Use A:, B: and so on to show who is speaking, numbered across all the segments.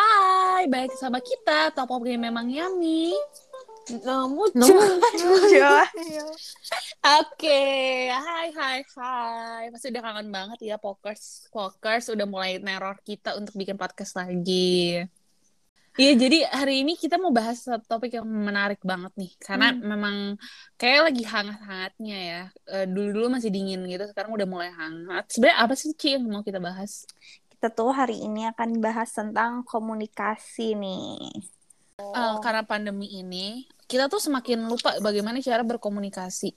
A: mulai baik sama kita topoknya memang yummy Nemu
B: Nemu.
A: Oke, hai hai hai. Pasti udah kangen banget ya pokers. Pokers udah mulai neror kita untuk bikin podcast lagi. Iya, jadi hari ini kita mau bahas satu topik yang menarik banget nih. Karena
B: Hmm.
A: memang kayak lagi hangat-hangatnya ya. Eh, Dulu-dulu masih dingin gitu, sekarang udah mulai hangat. Sebenarnya apa sih Ci yang mau kita bahas?
B: Kita tuh hari ini akan bahas tentang komunikasi nih.
A: Eh,
C: Oh.
A: karena pandemi ini, kita tuh semakin lupa bagaimana cara berkomunikasi.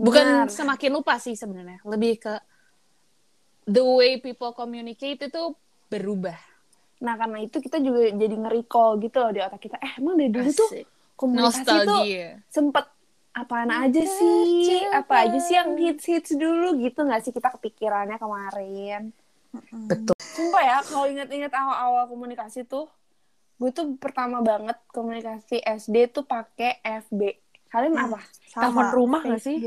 A: bukan
B: Benar.
A: semakin lupa sih sebenarnya lebih ke the way people communicate itu berubah
C: Nah karena itu kita juga jadi nge-recall gitu loh di otak kita. Eh emang dari dulu tuh
A: Asik.
C: komunikasi tuh
A: nostalgia
C: sempet apaan aja sih?
A: Coba.
C: Apa aja sih yang hits-hits dulu gitu nggak sih kita kepikirannya kemarin?
A: betul
C: Sumpah ya kalau inget-inget awal-awal komunikasi tuh gue tuh pertama banget komunikasi SD tuh pakai FB. Kalian
B: Hmm,
C: apa?
B: Sama.
C: rumah
B: nggak
C: sih?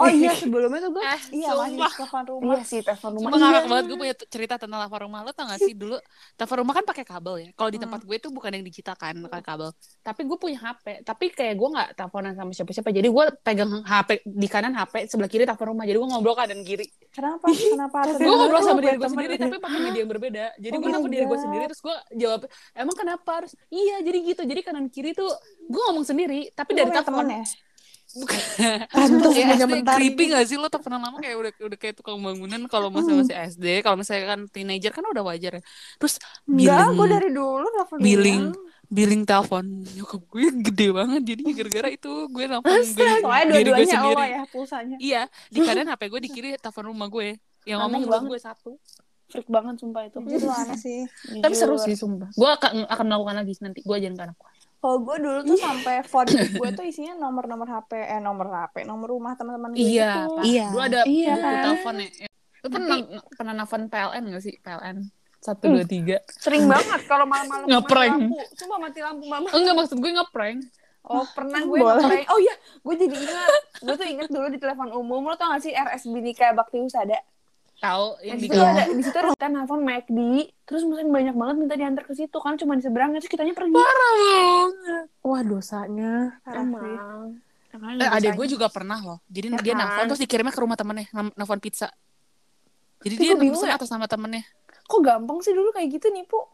B: Oh iya sebelumnya tuh gue
A: Eh,
B: iya masih
A: sumpah.
B: telepon rumah.
C: Iya sih telepon rumah.
A: Cuma ngakak banget gue punya t- cerita tentang telepon rumah lo tau gak sih dulu telepon rumah kan pakai kabel ya kalau di tempat gue tuh bukan yang digital kan pakai kabel tapi gue punya HP tapi kayak gue nggak teleponan sama siapa-siapa jadi gue pegang HP di kanan HP sebelah kiri telepon rumah jadi gue ngobrol kanan kiri
B: Kenapa? Kenapa? harus
A: gue
B: dulu?
A: ngobrol sama
B: Gue
A: diri gue
B: temen.
A: sendiri tapi pakai media yang berbeda jadi
B: Oh
A: gue
B: my
A: nelfon diri gue
B: God.
A: sendiri terus gue jawab emang kenapa harus iya jadi gitu jadi kanan kiri tuh gue ngomong sendiri tapi
B: Lu
A: dari
B: punya temen
A: telepon
B: ya?
A: bukan
B: Pantes
A: Ya, SD
B: punya bentar.
A: creepy gak sih lo teleponan lama kayak udah udah kayak tukang bangunan kalau masih masih SD kalau misalnya kan teenager kan udah wajar ya terus
B: Enggak,
A: billing
B: gue dari dulu telepon
A: billing
B: rumah.
A: billing telepon nyokap gue gede banget jadi gara-gara itu gue nelfon gue diri
B: Soalnya
A: gue
B: dua-duanya
A: sendiri
B: Allah ya pulsanya.
A: iya di kanan HP gue di kiri telepon rumah gue yang
C: Aneh
A: ngomong cuma
C: banget.
A: gue satu
C: Freak banget sumpah itu.
B: Itu aneh sih.
A: Tapi
C: Jujur.
A: seru sih sumpah. Gue akan, akan melakukan lagi nanti. Gue ajarin ke anak gue.
B: Kalau gue dulu tuh sampai font gue tuh isinya nomor-nomor HP, eh nomor HP, nomor rumah teman-teman gue
A: Iya.
B: gitu.
A: Pak.
D: Iya.
A: Dulu ada
C: Iya,
A: buku
C: kan?
A: teleponnya. Lu pernah pernah nelfon PLN gak sih? PLN satu
C: Hmm.
A: dua tiga.
C: Sering banget kalau malam-malam
A: Ngeprank.
C: mati lampu. Sumpah mati lampu mama.
A: Enggak maksud gue ngeprank.
C: Oh pernah gue
B: Boleh.
C: ngeprank. Oh iya, gue jadi ingat. gue tuh ingat dulu di telepon umum. Lo tau gak sih RS Binika Bakti Husada?
A: Tahu
C: Nah,
A: yang
C: di
A: Iya, di
C: situ ada di situ ada kan kita nelfon McD. Terus mungkin banyak banget minta diantar ke situ kan cuma di seberang terus kitanya pergi.
D: Wah dosanya.
B: Parah sih.
C: Emang
A: Eh, adik gue juga pernah loh. Jadi
C: Ya
A: dia
C: kan?
A: nelfon terus dikirimnya ke rumah temennya nam- nelfon pizza. Jadi
C: Tapi
A: dia
C: gue bingung
A: pesen
C: ya.
A: atas nama temennya.
C: kok gampang sih dulu kayak gitu nipu.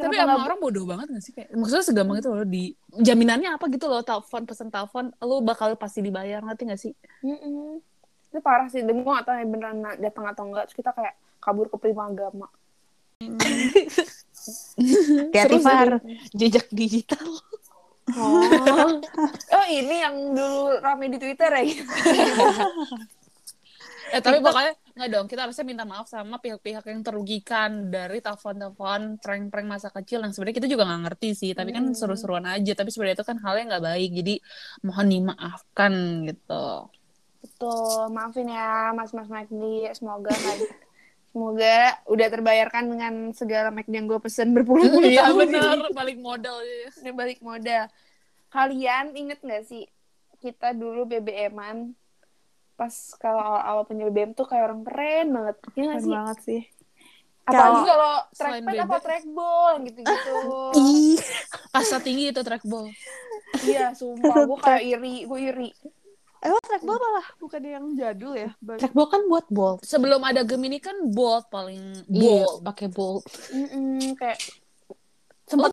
A: Eh, Tapi
C: kenapa
A: emang
C: nggak-
A: orang bodoh banget gak sih kayak maksudnya segampang itu loh di jaminannya apa gitu loh telepon pesen telepon lu bakal pasti dibayar ngerti gak sih?
C: Mm-mm. Itu parah sih. Dan gue gak tau ya beneran datang atau enggak. Terus kita kayak kabur ke Prima Agama.
D: Hati-hati
A: Seru sih.
D: Far.
A: Jejak digital.
C: Oh. oh ini yang dulu rame di Twitter ya gitu.
A: Eh tapi pokoknya nggak dong, kita harusnya minta maaf sama pihak-pihak yang terugikan dari telepon-telepon prank-prank masa kecil yang sebenarnya kita juga nggak ngerti sih, tapi kan
C: Hmm.
A: seru-seruan aja. Tapi sebenarnya itu kan hal yang nggak baik, jadi mohon dimaafkan gitu.
C: Betul, maafin ya Mas Mas McD. Semoga semoga udah terbayarkan dengan segala McD yang gue pesen berpuluh-puluh
A: Iya
C: tahun
A: bener, balik modal. ya.
C: ini. Ini balik modal. Kalian inget gak sih kita dulu BBM-an pas kalau awal-awal punya BBM tuh kayak orang keren banget. Iya gak
B: Keren
C: sih?
B: banget sih.
C: Apalagi
B: Kalau-
C: kalau
A: Selain
C: trackpad
A: BB.
C: apa trackball gitu-gitu.
D: Ih,
A: Kasta tinggi itu trackball.
C: iya, sumpah gue kayak iri, gue iri.
B: Emang trackball malah bukan yang jadul ya? Bang?
D: trackball kan buat bold.
A: Sebelum ada Gemini kan bold paling
D: Iya,
A: bold.
D: pakai bold.
C: Mm-mm, kayak sempet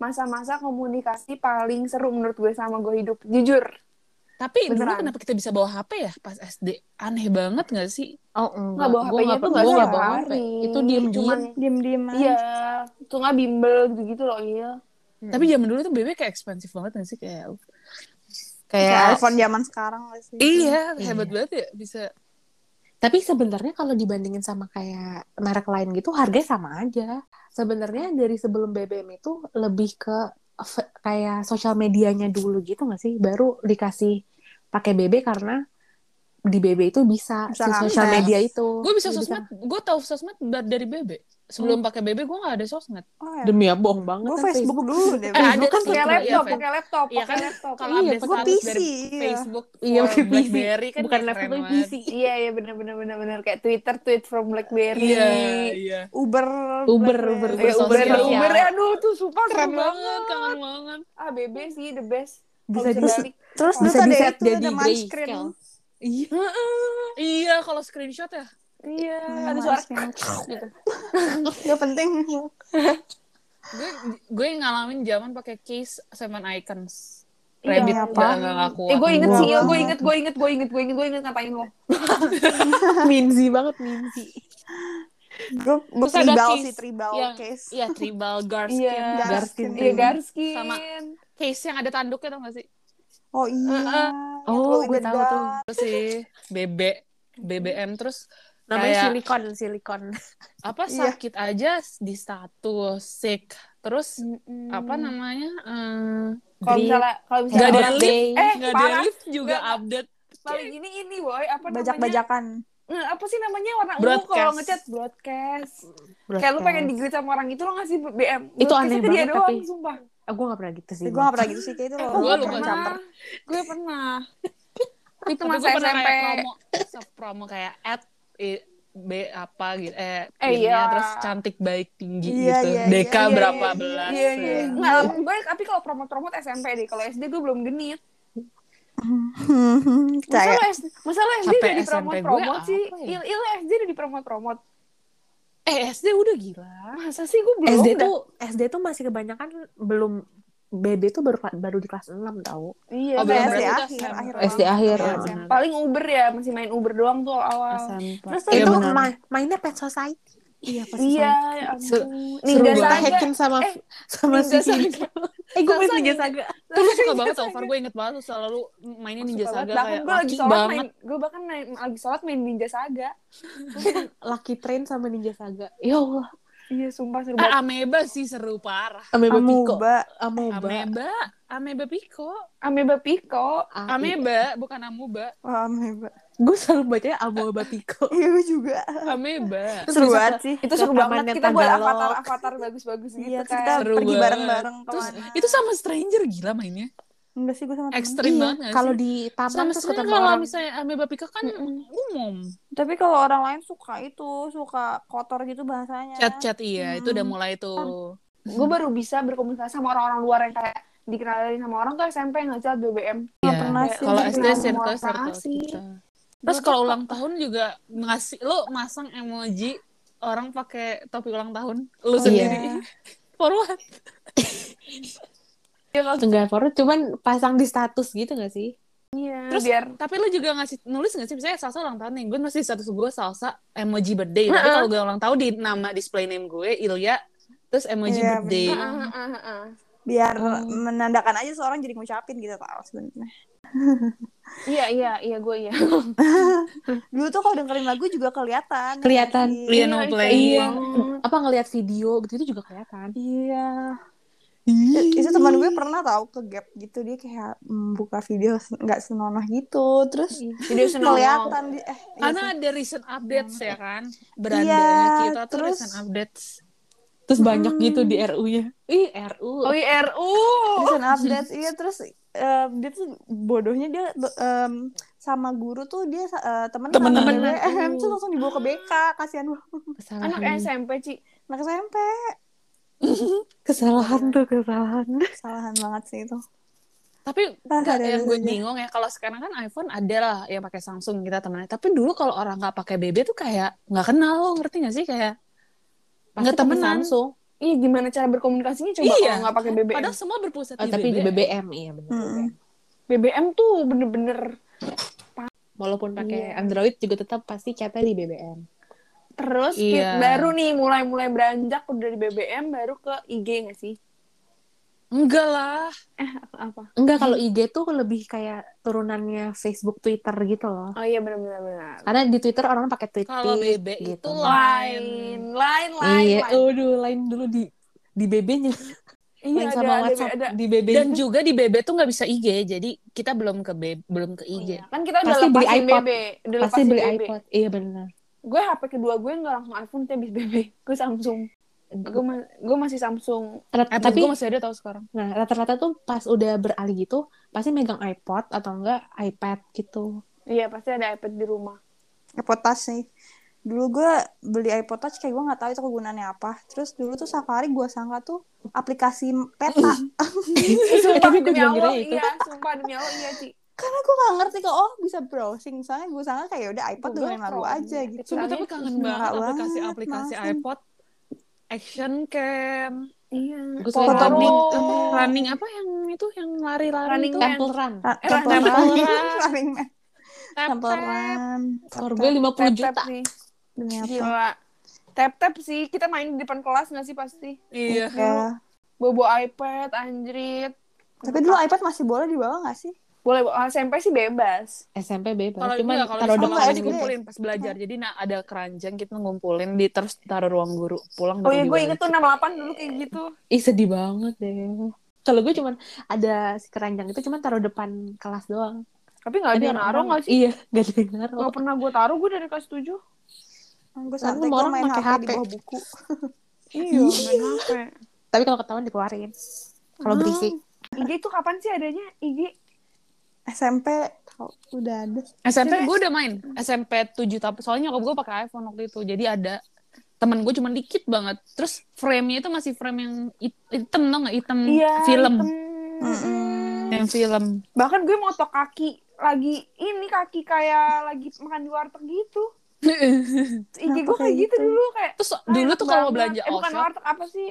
C: masa-masa komunikasi paling seru menurut gue sama gue hidup jujur
A: Tapi dulu
C: Beneran.
A: kenapa kita bisa bawa HP ya pas SD? Aneh banget gak sih?
D: Oh, enggak.
C: nggak bawa HP-nya
D: Gua
C: tuh
D: gua
C: nggak
D: nggak
C: sehari
D: bawa HP. Itu diem-diem.
C: Hmm,
B: Iya.
C: Cuman,
B: Diem-diem aja.
C: iya itu nggak bimbel gitu gitu loh iya
D: Mm.
A: Tapi zaman dulu tuh BB kayak ekspansif banget gak sih kayak
B: Kayak
D: Kayak
B: iPhone zaman sekarang gak sih?
A: Iya,
D: Iya.
A: hebat banget ya bisa.
D: Tapi sebenarnya kalau dibandingin sama kayak merek lain gitu, harganya sama aja. Sebenarnya dari sebelum BBM itu lebih ke f- kayak sosial medianya dulu gitu nggak sih? Baru dikasih pakai BB karena di BB itu bisa,
B: Bisa
D: si sosial
B: akses.
D: media itu.
A: Gue bisa
D: Jadi
A: sosmed, gue tahu sosmed da- dari bebe. Sebelum pakai bebe gue gak ada sosmed.
B: Oh, ya.
D: Demi ya bohong banget.
B: Gue
D: kan
B: Facebook dulu deh.
A: Eh, ada
B: Facebook kan
A: sih.
C: pakai
A: Iya,
C: laptop,
A: Fe.
C: pakai laptop,
A: Iya
C: pakai
A: kan?
C: laptop.
A: Kalau
D: Iya,
A: update
D: pakai
A: status
B: PC,
A: dari
B: iya.
A: Facebook,
D: Iya,
A: for
D: pakai PC.
A: BlackBerry kan
D: bukan
A: ya
D: laptop
A: keren
D: tapi
A: banget.
D: PC.
C: Iya, iya bener-bener bener-bener kayak Twitter tweet from BlackBerry.
A: Iya, iya.
B: Uber.
D: Uber,
B: Blackberry.
C: Eh,
D: Uber,
C: Uber,
A: Sosial.
C: Uber, aduh tuh sumpah
A: Keren
C: keren
A: banget,
C: banget.
A: kangen banget.
C: Ah, BB sih the best.
D: Bisa
C: Kalau
D: di
C: balik.
D: terus
B: Terus
D: bisa
B: ada
D: di set
B: itu,
D: jadi
B: ada
D: grayscale.
B: touchscreen.
D: Iya.
A: Iya, kalau screenshot ya.
C: Iya,
B: Nah,
C: ada suara. gitu.
B: Gak penting.
A: Gue gue ngalamin zaman pakai case seven icons.
C: Iya,
A: Reddit
B: apa?
A: nggak nggak nggak kuat.
C: Eh, gue inget
D: Wah.
C: sih, gue inget, gue inget, gue inget, gue inget, gue inget ngapain lo.
D: minzi banget minzi.
B: Gue
A: Terus ada
B: tribal
A: case
B: sih, tribal
A: yang-
B: case.
A: Iya, tribal Garskin.
C: Iya.
D: Garskin.
C: Iya, Garskin.
A: Sama. Case yang ada tanduknya tau gak sih?
B: Oh iya. Yang
D: Oh, gue
B: lu
D: tahu
B: ingat
D: tuh.
B: banget.
A: Terus sih BB BBM terus Kayak-
D: Namanya silikon, silikon.
A: apa
B: Iya.
A: sakit aja di status sick terus
B: Hmm.
A: apa namanya eh,
C: Kalau
A: di-
C: misalnya, kalau
A: nggak
C: misalnya
A: ada
C: orang-
A: lift
C: eh
A: nggak ada
C: parah,
A: lift juga
C: Nggak-
A: update
C: paling gini ini boy, apa namanya?
B: Bajak-bajakan.
C: Eh, apa sih namanya warna ungu
A: Broadcast.
C: kalau ngechat broadcast. Eh, Kayak lu pengen digrid sama orang itu lo ngasih BM.
D: Itu
C: Broadcast
D: aneh
C: dia
D: banget,
C: doang,
D: tapi-
C: sumpah.
D: gue gak pernah gitu sih.
B: Gue gak pernah gitu sih, kayak itu loh.
A: Gue
C: gue
A: lu
C: pernah.
A: caper.
C: Nah, Gue pernah. itu
A: Tapi
C: masa
A: gue pernah
C: SMP.
A: kayak promo promo kayak at i- b apa gitu eh pinnya,
C: Eh, iya.
A: terus cantik baik tinggi
B: Iya,
A: gitu
B: iya,
A: DK
B: iya,
A: berapa
B: iya,
A: belas
C: Iya, iya.
A: ya.
C: Nggak, gue tapi kalau promo-promo SMP deh. Kalau SD gue belum genit. Masa
B: Kayak
C: lu SD, masa lu SD
A: Sampai
C: udah dipromot-promot
A: SMP gue
C: sih?
A: apa ya?
C: Il, il SD udah dipromot-promot.
A: eh SD udah gila
C: Ah, Masa sih gue belum?
D: SD
C: dah.
D: tuh SD tuh masih kebanyakan belum BB tuh baru baru di kelas 6 tau.
A: Oh,
C: Iya, kayak
A: belum
B: SD
A: berarti udah
B: ya, akhir,
A: SMP.
B: akhir
D: SD akhir.
B: Iya,
D: Heeh.
C: Paling Uber ya, masih main Uber doang tuh awal.
D: Terus
A: Iya,
D: itu
A: benar.
D: ma- mainnya Pet Society. Iya, Pet
C: Iya,
D: Society.
C: ya
D: Seru-
C: ampun.
D: Seru
C: Ninja
D: banget.
C: Saga.
D: Hacken sama
C: eh,
D: sama si
C: Ninja Saga.
D: Eh, gue main
C: Masa
D: Ninja
C: Ninja-
D: Saga.
A: Tapi gue suka banget Over, gue inget banget tuh selalu mainin Ninja
C: Oh, Suka banget.
A: Saga
C: Bahkan
A: kayak
C: gue lagi
A: laki
C: sholat
A: banget.
C: main, gue bahkan main- lagi sholat main Ninja Saga.
D: Lucky Train sama Ninja Saga. Ya Allah.
C: Iya, sumpah seru
A: Ah,
C: banget.
A: ameba sih seru parah.
D: Ameba Pico.
B: Amuba.
D: Amoeba.
A: Ameba, ameba piko,
C: Ameba Pico.
B: Ah, iya.
A: ameba bukan amuba,
B: Amuba.
D: Gue selalu bacanya Amoeba Pico.
B: Iya gue juga.
A: ameba.
D: Terus
B: Seru
D: bisa-
B: banget sih.
C: Itu
D: Ke
C: seru
D: tamannya
C: banget. Kita buat
D: Tagalog.
C: avatar-avatar bagus-bagus gitu
B: Iya, terus kita
C: kan.
A: Seru
B: pergi
A: banget.
B: bareng-bareng
A: Terus
B: kemana.
A: itu sama stranger gila mainnya,
B: Enggak sih gue sama temen.
A: ekstrim
D: Iya,
A: banget. nggak sih?
D: Kalau di taman
A: sama
D: terus
A: stranger
D: ketemu
A: kalau
D: orang.
A: misalnya ameba piko kan
B: Hmm.
A: umum.
B: Tapi kalau orang lain suka itu, suka kotor gitu bahasanya.
A: Chat-chat iya, itu
B: Hmm.
A: udah mulai tuh.
C: Gue baru bisa berkomunikasi sama orang-orang luar yang kayak dikenalin sama orang tuh SMP ngechat BBM.
B: Nggak
A: Iya.
B: pernah sih.
A: Kalau
B: Nggak
A: SD
B: pernah
A: circle
C: sama orang
A: circle gitu.
C: asing.
A: kita. Terus kalau ulang tahun juga ngasih lu masang emoji orang pakai topi ulang tahun lu
D: Oh,
B: iya.
A: sendiri. For what?
D: Enggak forward, cuman pasang di status gitu gak sih?
C: Iya.
A: Terus-
C: Terus biar
A: Tapi lu juga ngasih nulis nggak sih misalnya salsa ulang tahun nih. Gue nulis di status gue salsa emoji birthday. Tapi
C: Heeh.
A: kalau gue ulang tahun di nama display name gue Ilya terus emoji
B: Iya,
A: birthday.
C: Heeh, heeh, heeh.
B: Biar
A: Hmm.
B: menandakan aja seorang jadi ngucapin gitu tau sebenarnya.
C: Iya, iya, iya gue iya.
B: Dulu tuh kalau dengerin lagu juga kelihatan.
D: Kelihatan.
A: Iya,
B: Iya.
A: no
C: Iya,
A: play.
D: iya. Apa ngelihat video gitu itu juga kelihatan.
B: Iya. Itu teman gue pernah tau ke gap gitu dia kayak mm, buka video se- nggak senonoh gitu,
A: Iya,
B: terus
C: Iya. Video senonoh.
B: kelihatan di- eh iya
A: Karena
B: sih.
A: ada recent updates ya kan. Berandanya
B: Iya,
A: kita tuh
B: terus-
A: recent updates.
D: Terus banyak gitu di RU-nya. Ih, RU.
C: Oh iya, RU.
B: recent
A: Oh.
B: updates iya terus eh, dia tuh bodohnya dia em, sama guru tuh dia eh, temen
A: Temenan.
B: sama BM tuh langsung dibawa ke BK kasihan banget
D: Kesalahan.
C: Anak SMP, Ci.
B: anak SMP
D: kesalahan tuh kesalahan.
B: kesalahan banget sih itu
A: Tapi
B: Ah,
A: nggak
B: ada
A: yang gue
B: rasanya.
A: bingung ya kalau sekarang kan iPhone ada lah yang pakai Samsung kita temennya. Tapi dulu kalau orang nggak pakai BB tuh kayak nggak kenal lo ngerti nggak sih kayak nggak
D: pakai
A: temenan.
D: Samsung.
C: Iya, gimana cara berkomunikasinya coba
A: Iya.
C: kalau nggak pakai BBM?
A: Padahal semua berpusat
D: Oh,
A: di
D: tapi di
A: BB.
D: BBM iya benar.
B: Mm-mm.
C: BBM tuh bener-bener
D: Walaupun pakai
C: Iya.
D: Android juga tetap pasti catnya di BBM.
C: terus
A: Iya.
C: ki- baru nih mulai-mulai beranjak udah dari BBM baru ke IG nggak sih?
A: Enggak lah.
C: Apa?
D: Enggak kalau IG tuh lebih kayak turunannya Facebook, Twitter gitu loh.
C: Oh iya benar-benar benar.
D: Karena di Twitter orang pakai Twitter
A: Kalau BB itu
D: gitu.
A: lain.
C: Lain, lain, lain.
D: Iya,
C: lain.
D: aduh lain dulu di di BB-nya.
C: Iya,
D: Main
C: ada,
D: sama
C: ada,
D: WhatsApp
C: ada.
D: di BB.
A: Dan juga di BB tuh nggak bisa IG, jadi kita belum ke B- belum ke IG.
C: Iya. Kan kita udah
D: Pasti beli
C: lepasin
D: iPod.
C: BB. Udah
D: pasti
C: lepasin
D: beli
C: BB.
D: iPod. Iya benar.
C: Gue HP kedua gue nggak langsung iPhone, tapi habis BB. Gue Samsung. Gue ma- gue masih Samsung.
A: Eh,
D: Tapi
A: tapi gue masih ada tau sekarang.
D: nah rata-rata tuh pas udah beralih gitu pasti megang iPod atau enggak iPad gitu.
C: Iya, pasti ada iPad di rumah.
B: iPod Touch nih dulu gue beli iPod Touch kayak gue nggak tahu itu kegunaannya apa terus dulu tuh Safari gue sangka tuh aplikasi peta
D: Eh, tapi gue
C: demi
D: juga
C: Allah,
D: kira itu.
C: Iya, sumpah demi Allah iya, Ci.
B: karena gue nggak ngerti kok oh bisa browsing soalnya gue sangka kayak udah iPod
C: Google
B: dengan baru
C: Chrome,
B: aja
C: iya.
B: gitu
A: Sumpah
C: Soalnya
A: tapi kangen
B: norak
A: banget
B: banget,
A: aplikasi-aplikasi
B: maafin.
A: iPod. Action cam,
C: Iya.
D: Gue
B: Foto
D: suka
A: running,
D: running,
C: Polaroid.
A: eh, running apa yang itu yang lari-lari
C: Oh. Running
A: itu?
C: man.
D: temple run.
B: Ra-
C: Eh,
B: tempelan.
A: tempelan.
B: Paling men-
A: Tap-tap.
B: tempelan.
D: Skor gue
C: Tap-tap
D: 50 juta.
C: sih.
B: Demi apa?
C: Gila. Tap-tap sih. Kita main di depan kelas nggak sih pasti?
A: Iya.
B: Ya.
C: Bobo iPad, anjrit.
B: Tapi dulu iPad masih boleh dibawa nggak sih?
C: Boleh, ah, SMP sih bebas.
D: SMP bebas.
A: Kalau
D: Cuman
A: juga kalau
D: taruh
A: di
B: depan
A: sekolah
B: aja
A: aja
B: gitu ya.
A: dikumpulin pas belajar. Jadi nah ada keranjang kita ngumpulin di terus taruh ruang guru pulang.
C: Oh
A: baru
C: iya, gue
A: dibalik.
C: inget tuh 68 dulu kayak gitu.
D: Ih sedih banget deh. Kalau gue cuman ada si keranjang itu cuman taruh depan kelas doang.
C: Tapi nggak ada
D: Tapi
C: yang naruh
D: orang-
C: nggak sih?
D: Iya, gak ada yang naruh.
C: Nggak pernah gue taruh, gue dari kelas 7.
B: Gue santai
D: semua
B: gue
D: orang
B: main
D: pakai
B: HP, di
D: HP.
B: bawah buku.
C: Iya, main HP.
D: Tapi kalau ketahuan dikeluarin. Kalau
C: Ah.
D: berisik.
C: IG tuh kapan sih adanya? IG?
B: SMP tau, udah ada.
A: SMP gue udah main SMP 7 tapi soalnya nyokap gue pakai iPhone waktu itu jadi ada temen gue cuma dikit banget terus frame-nya itu masih frame yang hit- hitam tau nggak hitam Hmm, film
C: Iya, hitam.
A: yang film
C: Bahkan gue motok kaki lagi ini kaki kayak lagi makan di warteg gitu. IG gue
B: Kenapa
C: kayak
B: kayak
C: gitu
B: gitu?
C: dulu kayak
A: terus
C: ah,
A: dulu
C: enak
A: tuh kalau
C: banget.
A: belanja oh,
C: eh, bukan
A: offshore
C: warteg apa sih?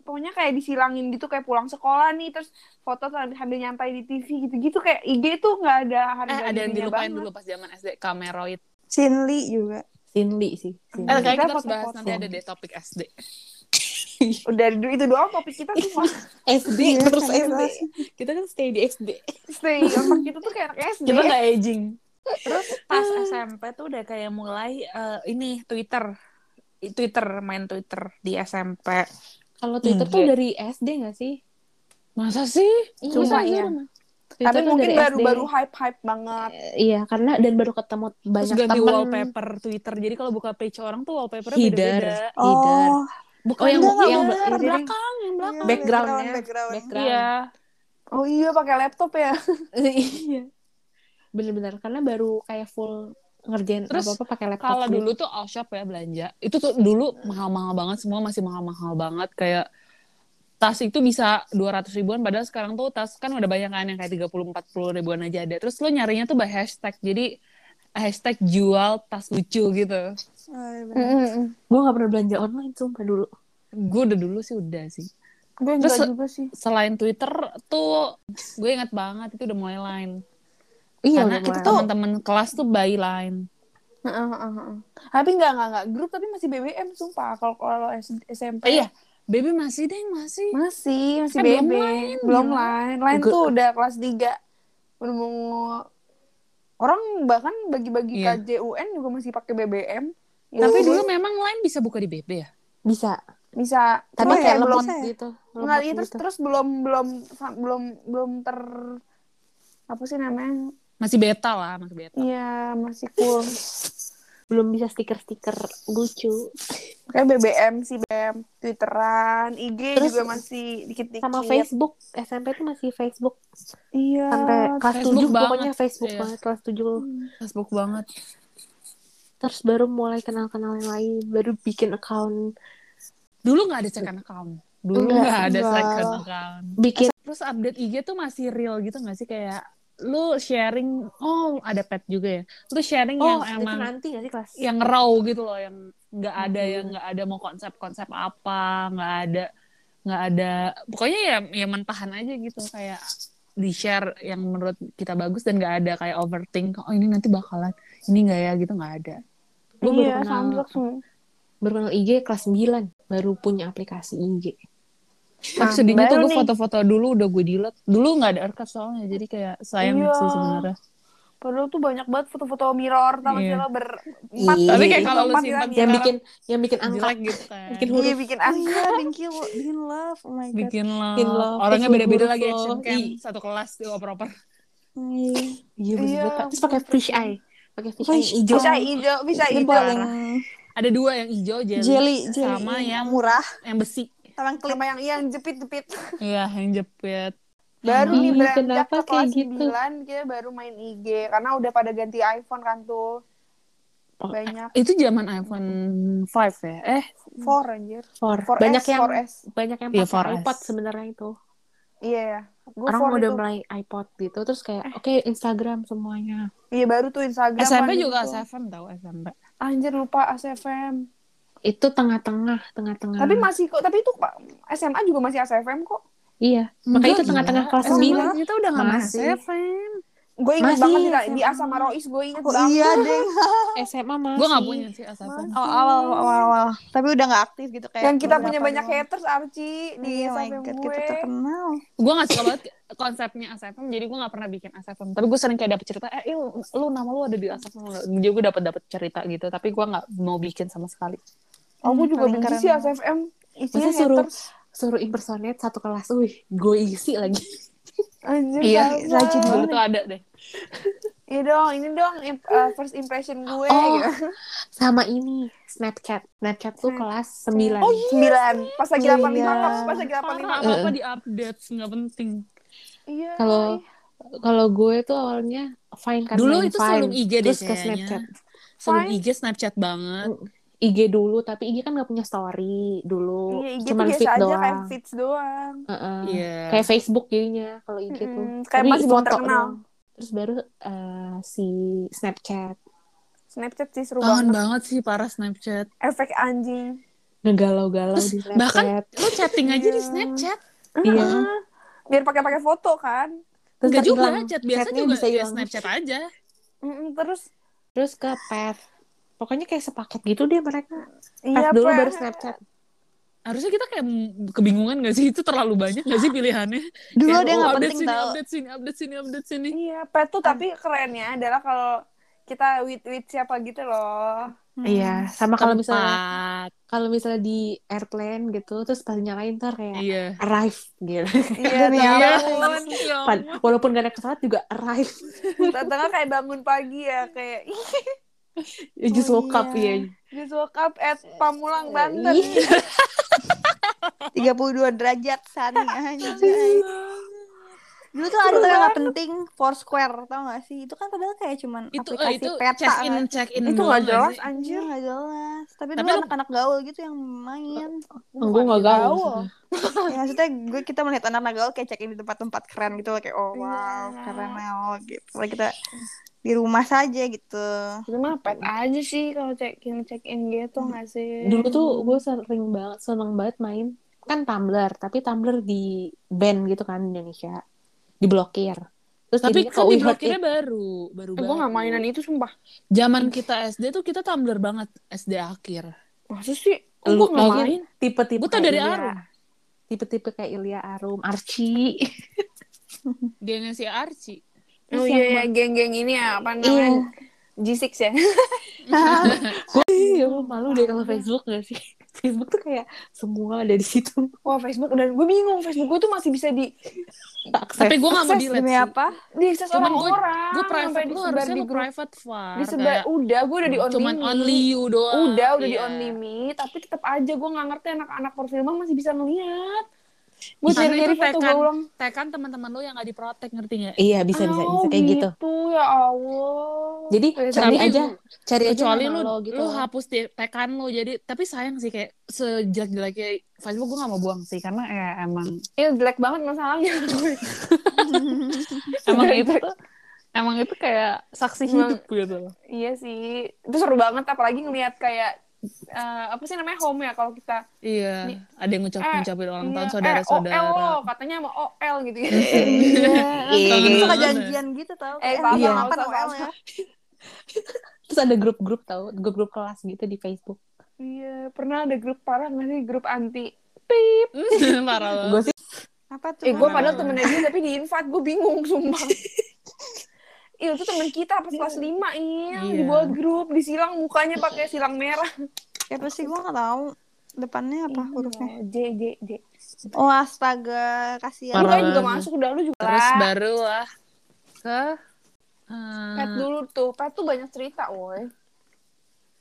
C: Pokoknya kayak disilangin gitu kayak pulang sekolah nih terus foto sambil sambil nyantai di TV gitu-gitu kayak IG tuh nggak ada harga
A: eh ada yang
C: dirinya
A: dilupain
C: banget. Eh,
A: dulu pas zaman SD kameroid
B: Cinli juga.
D: Sinli sih. Sinli.
A: eh kayaknya
C: Kita
A: kita harus
C: pakai
A: bahas
C: foto.
A: nanti ada deh topik SD
C: Udah du- itu doang topik kita semua
D: SD
B: Iya,
D: terus
B: kan,
D: SD.
B: jelas.
D: Kita kan stay di SD.
C: stay otak itu tuh kayak anak SD.
A: kita nggak aging terus pas SMP tuh udah kayak mulai eh, ini Twitter Twitter main Twitter di SMP
D: Kalau Twitter tuh
A: Enggak.
D: dari SD gak sih?
A: masa sih
D: Iya,
A: Cuma
D: masa
A: ya.
D: sih? Twitter
C: Tapi
D: tuh
C: mungkin
D: dari SD.
C: baru-baru hype-hype banget.
D: Eh, Iya, karena dan baru ketemu
A: Terus
D: banyak
A: ganti
D: temen.
A: wallpaper Twitter. Jadi kalau buka page orang tuh wallpapernya
D: Header.
A: beda-beda.
D: Header.
B: Oh,
A: Bukan yang yang
B: enggak, enggak.
A: yang
D: Jadi-
A: belakang, yang belakang.
B: iya,
D: Backgroundnya.
B: background, background.
D: Background.
A: Iya.
C: Oh iya pakai laptop ya.
D: Iya. Bener-bener karena baru kayak full ngerjain
A: Terus,
D: apa-apa pakai laptop.
A: Kalau
D: gitu.
A: dulu tuh all shop ya belanja. Itu tuh dulu mahal-mahal banget semua masih mahal-mahal banget kayak tas itu bisa 200 ribuan padahal sekarang tuh tas kan udah banyak kan yang kayak 30 40 ribuan aja ada. Terus lo nyarinya tuh by hashtag. Jadi hashtag jual tas lucu gitu.
B: Oh, iya, bener.
D: gue gak pernah belanja online sumpah dulu.
A: Gue udah dulu sih udah sih.
C: Gue
A: Terus-
C: enggak juga sih.
A: Selain Twitter tuh gue ingat banget itu udah mulai lain.
D: Iya,
A: Karena
D: udah
A: itu
D: mulai.
A: teman-teman kelas tuh by line.
C: Heeh, heeh, heeh. Tapi enggak enggak enggak grup tapi masih BBM sumpah kalau kalau S- SMP.
A: Eh, iya, Baby masih deh masih.
C: Masih, masih
A: Eh,
C: BB.
A: belum
C: Belum
A: lain,
C: lain.
A: gila.
C: Lain
D: Gue-
C: tuh udah kelas 3. Udah mau orang bahkan bagi-bagi
A: Iya.
C: KJUN juga masih pakai BBM. Ya,
A: Tapi
C: gue
A: dulu memang line bisa buka di BB ya.
D: Bisa.
C: bisa
B: Oh,
D: Tapi kayak
B: iya,
D: lemot
B: bisa ya?
D: gitu.
C: Enggak,
D: Lemot
C: iya, terus
D: gitu.
C: terus belum belum belum belum ter apa sih namanya?
A: Masih beta lah, masih beta.
C: Iya, masih cool.
D: Belum bisa stiker-stiker lucu.
C: Kayak BBM sih, BBM, Twitteran, IG
D: Terus
C: juga masih dikit-dikit.
D: Sama
B: iya.
D: Facebook. SMP tuh masih Facebook.
C: Iya.
B: Ah,
D: Sampai kelas
A: Facebook
D: 7 pokoknya
A: banget.
D: Facebook
A: Iya.
D: banget. Kelas 7.
A: Facebook banget.
D: Terus baru mulai kenal-kenal yang lain. Baru bikin account.
A: Dulu nggak ada second account. Dulu
D: Enggak,
A: nggak ada
B: enggak.
A: second account.
D: Bikin
A: Terus update IG tuh masih real gitu nggak sih kayak lu sharing oh ada pet juga ya. Lu sharing yang
D: Oh,
A: emang
D: itu nanti gak sih kelas?
A: yang raw gitu loh yang nggak ada
D: Mhm.
A: yang nggak ada mau konsep-konsep apa nggak ada nggak ada pokoknya ya ya mentahan aja gitu kayak di share yang menurut kita bagus dan nggak ada kayak overthink oh ini nanti bakalan ini nggak ya gitu nggak ada gue baru
C: iya,
A: kenal
C: Samsung semua.
D: Baru kenal IG kelas 9. Baru punya aplikasi IG.
A: Tapi
B: Ah,
C: Nah,
A: sedihnya tuh
C: baru
A: gue
C: nih.
A: foto-foto dulu udah gue delete dulu nggak ada archive soalnya jadi kayak sayang
C: Iya.
A: sih sebenarnya
C: Padahal tuh banyak banget foto-foto mirror tau gak sih
A: Iya.
C: lo ber empat
D: Iya.
A: Tapi kayak kalau lu
C: empat
A: simpan
C: gitu.
D: yang
A: Sekarang-
D: bikin yang bikin angka
A: jelek gitu kan.
D: bikin
C: Iya
D: huruf
C: bikin
B: Oh
C: angka.
B: iya, Binky lo- bikin love. Oh my god.
A: bikin love.
D: Bikin love,
A: Orangnya
D: terus
A: beda-beda
D: huruf
A: lagi
D: love.
A: action camp
D: Ih.
A: satu kelas tuh oper-oper.
B: Iya.
D: iya bener
C: Iya.
D: banget. terus pakai fish eye pakai fish eye
B: Fish
D: hijau
C: Bisa hijau, bisa
B: Itu
C: hijau.
B: paling
A: Ada dua yang hijau jelly,
B: jelly, jelly.
A: sama yang
B: murah.
A: yang besi.
B: Sama yang klip.
C: Sama yang yang jepit-jepit.
A: Iya, yang jepit.
C: Baru
D: Ih,
C: nih beranjak
D: kenapa
C: ke
D: kayak
C: kelas
D: gitu?
C: 9 kita baru main IG karena udah pada ganti iPhone kan tuh.
A: Oh.
C: Banyak
A: Itu zaman iPhone 5 ya. Eh,
C: 4 anjir.
D: for
C: 4S,
D: banyak yang
C: 4S.
D: banyak yang
A: Iya,
D: pakai
A: 4S.
D: iPod sebenarnya itu
C: Iya. Gue
D: orang
C: for
D: udah
C: itu.
D: mulai iPod gitu terus kayak oke Instagram semuanya
C: Iya baru tuh Instagram.
A: SMP
C: kan
A: juga
C: gitu.
A: SFM tahu SMP.
C: Anjir lupa SFM.
D: itu tengah-tengah
A: Hmm.
D: tengah-tengah
C: Tapi masih kok, tapi itu Pak, SMA juga masih SFM kok.
D: iya makanya itu tengah-tengah kelas
B: Emang
D: sembilan
B: banget.
A: Kita udah nggak
D: Masih.
A: masih SFM.
C: Gue inget
D: Masih
C: banget di, di
D: SMA.
C: Asama Rois, gue inget
B: Oh,
C: banget.
B: iya deh.
D: SMA masih
A: Gue nggak punya sih SFM.
B: Awal-awal, awal-awal. Tapi udah nggak aktif gitu kayak.
C: Yang kita punya
B: beberapa
C: banyak
B: doang.
C: haters, Arci, di
B: Iya, oh my
C: SFM
B: god,
C: gue.
B: kita terkenal.
A: gue gak suka banget konsepnya ASFM jadi gue gak pernah bikin ASFM tapi gue sering kayak dapet cerita eh lu, lu nama lu ada di ASFM jadi gue dapet dapet cerita gitu tapi gue gak mau bikin sama sekali
C: Oh, gue juga
B: Hmm, Paling
C: benci
B: keren
C: sih
B: banget.
C: SFM. Isinya
D: Masa suruh-
C: haters.
D: suruh impersonate satu kelas wih gue isi lagi
C: Anjir,
A: Iya,
C: Salsa.
B: rajin
A: dulu tuh ada deh
C: Iya dong, ini dong im- eh, first impression gue.
D: Oh,
C: gitu.
D: sama ini Snapchat Snapchat tuh kelas 9
C: Oh, Sembilan. Pas lagi
B: Iya.
C: 85, Kak. pas lagi
A: parah
C: 85.
A: apa apa di update gak penting
C: Iya.
D: Kalau- kalau gue tuh awalnya fine kan
A: dulu
D: main
A: itu
D: Vine.
A: sebelum IG deh
D: terus ke
A: kayaknya
D: Snapchat
A: sebelum
C: Vine.
A: IG Snapchat banget
D: IG dulu tapi IG kan nggak punya story dulu
C: Iya, IG tuh
D: cuman
C: biasa
D: feed
C: aja
D: doang
C: kayak feeds doang.
D: Heeh.
A: iya
D: kayak Facebook jadinya kalau IG tuh
C: Mm, kayak
D: Gitu. Tapi
C: masih belum
D: foto
C: terkenal.
D: doang. terus baru eh, si Snapchat
C: Snapchat sih seru
A: kangen
C: banget.
A: banget sih parah Snapchat
C: Efek anjing.
D: ngegalau-galau
A: Terus,
D: di Snapchat
A: bahkan- lu chatting aja di
C: Iya.
A: Snapchat
D: Iya.
C: Heeh. Biar pakai-pakai foto kan.
D: terus
A: Enggak juga
D: hilang.
A: chat biasa
D: Chatnya
A: juga
D: bisa
A: ya
D: hilang.
A: Snapchat aja
C: Mm-mm, terus
D: terus ke Pet pokoknya kayak sepaket gitu dia mereka Pet
C: iya
D: dulu
C: Pre.
D: baru Snapchat
A: harusnya kita kayak kebingungan gak sih itu terlalu banyak gak sih pilihannya
B: Dulu
A: Kayak,
B: dia
A: oh,
B: nggak
A: update
B: penting
A: sini,
B: tau.
A: Update sini, update sini, update sini.
C: Iya, pet tuh tapi kerennya adalah kalau kita with with siapa gitu loh.
B: Hmm.
D: iya sama kalau misalnya
A: Tempat.
D: kalau misalnya di airplane gitu terus pas nyalain ntar kayak
A: Iya.
D: arrive gitu
C: Iya,
B: Demi
C: tengah-
A: Iya.
D: Pan- walaupun gak ada pesawat juga arrive
C: tengah kayak bangun pagi ya kayak ih,
D: you just
B: Oh,
D: woke up
B: iya.
D: ya
C: just woke up at Pamulang Banten.
D: Ih.
B: 32 derajat sani anjay. Dulu tuh ada tuh yang gak penting Foursquare tau gak sih? Itu kan padahal kayak cuman
A: Itu eh,
B: aplikasi
A: itu
B: peta
A: check in
B: kan.
A: check in.
C: Itu nggak jelas
B: Anjir gak
C: anjir.
B: Iya, jelas. Tapi,
A: Tapi
B: dulu
A: lu-
B: anak-anak gaul gitu yang main.
D: gue gak gaul
B: ya, maksudnya gue kita melihat anak-anak gaul kayak check in di tempat-tempat keren gitu loh. kayak oh wow
C: Iya.
B: keren oh gitu. Kalau kita di rumah saja gitu.
C: Itu mah pet aja sih kalau check in check in gitu nggak sih?
D: dulu tuh
A: Hmm.
D: gue sering banget seneng banget main kan Tumblr tapi Tumblr di ban gitu kan di Indonesia diblokir terus
A: Tapi kan
D: jadinya ke We Heart
A: diblokirnya
D: It.
A: baru, baru
C: gue Eh, nggak mainan itu sumpah.
A: Zaman kita SD tuh kita tumbler banget SD akhir. Oh,
C: Masa sih? Kok
D: Lu
C: gue nggak
A: gitu?
D: taunya
C: main?
D: tipe-tipe
A: Gue tau
D: kayak
A: dari
D: Ilya.
A: Arum.
D: tipe-tipe kayak Ilya Arum Archie
A: Dia si Archie.
C: Oh iya,
D: Terus yang
C: iya, geng-geng ini ya, apa
D: Iya.
C: namanya? G6 ya?
D: gue
A: Iya.
D: ya Allah, malu deh kalau Facebook gak sih Facebook tuh kayak semua ada di situ
C: Wah, Facebook. Dan gue bingung, Facebook gue tuh masih bisa di
A: Tapi
D: akses
A: gue gak mau
C: Akses
A: delete
B: Demi
A: sih.
B: apa?
C: di akses
A: Cuman gue-
C: orang-orang
A: Gue private,
C: sampai
A: lu
C: disebar
A: harusnya
C: di
A: lu
C: grup
A: private far.
C: disebar
A: Kayak
C: udah gue udah di on
A: Cuman
C: limit
A: only you doang.
C: udah udah
A: Iya.
C: di on limit tapi tetap aja gue nggak ngerti anak-anak perfilman masih bisa ngeliat gue
A: Karena
C: cari cari
A: itu
C: foto gue
A: tekan.
C: ulang
A: Tekan kan teman-teman lu yang gak diprotek ngerti gak?
D: iya bisa bisa
C: "Oh,
D: bisa kayak gitu
C: ya allah
D: jadi
C: Kayak gitu.
D: cari
A: tapi-
D: aja cari
C: Iya,
D: aja
A: kecuali
D: nama
A: lu
D: lo gitu
A: lu hapus di tekan lu jadi tapi sayang sih kayak sejelek-jeleknya Facebook gue gak mau buang sih karena ya emang
C: iya jelek banget masalahnya
A: emang itu tuh- emang itu kayak saksi
C: Emang-
A: hidup gitu loh.
C: iya sih itu seru banget apalagi ngeliat kayak eh, apa sih namanya home ya kalau kita
A: iya ada yang ngucap ngucapin ulang tahun
C: Iya, eh,
A: saudara-saudara
C: OL loh, katanya sama OL gitu ya
D: Iya.
B: Iya.
A: Kangen
B: Suka
A: banget.
B: janjian gitu tau.
C: Eh,
B: Kayak,
C: papa,
B: "Jam
C: nggak
B: delapan
C: usah,
B: OL
C: papa."
B: ya.
D: terus ada grup-grup tau grup-grup kelas gitu di Facebook
C: iya pernah ada grup parah nggak sih grup anti pip
A: parah banget
D: gue sih
B: Apa tuh?
C: Eh, gue
B: Mama?
C: padahal temennya dia tapi di invite gue bingung sumpah. Il Iya, itu teman kita pas kelas 5 Il
B: Iya.
C: dibuat grup disilang mukanya pakai silang merah.
B: Siapa sih gue nggak tahu depannya apa
C: Iya.
B: hurufnya.
C: J J J.
B: Oh astaga, kasihan.
C: Lu
A: Parah
C: kan juga
A: banget.
C: masuk udah lu juga.
A: Terus
C: lah.
A: barulah ke Eh,
C: Pet dulu tuh, Pet tuh banyak cerita, woi.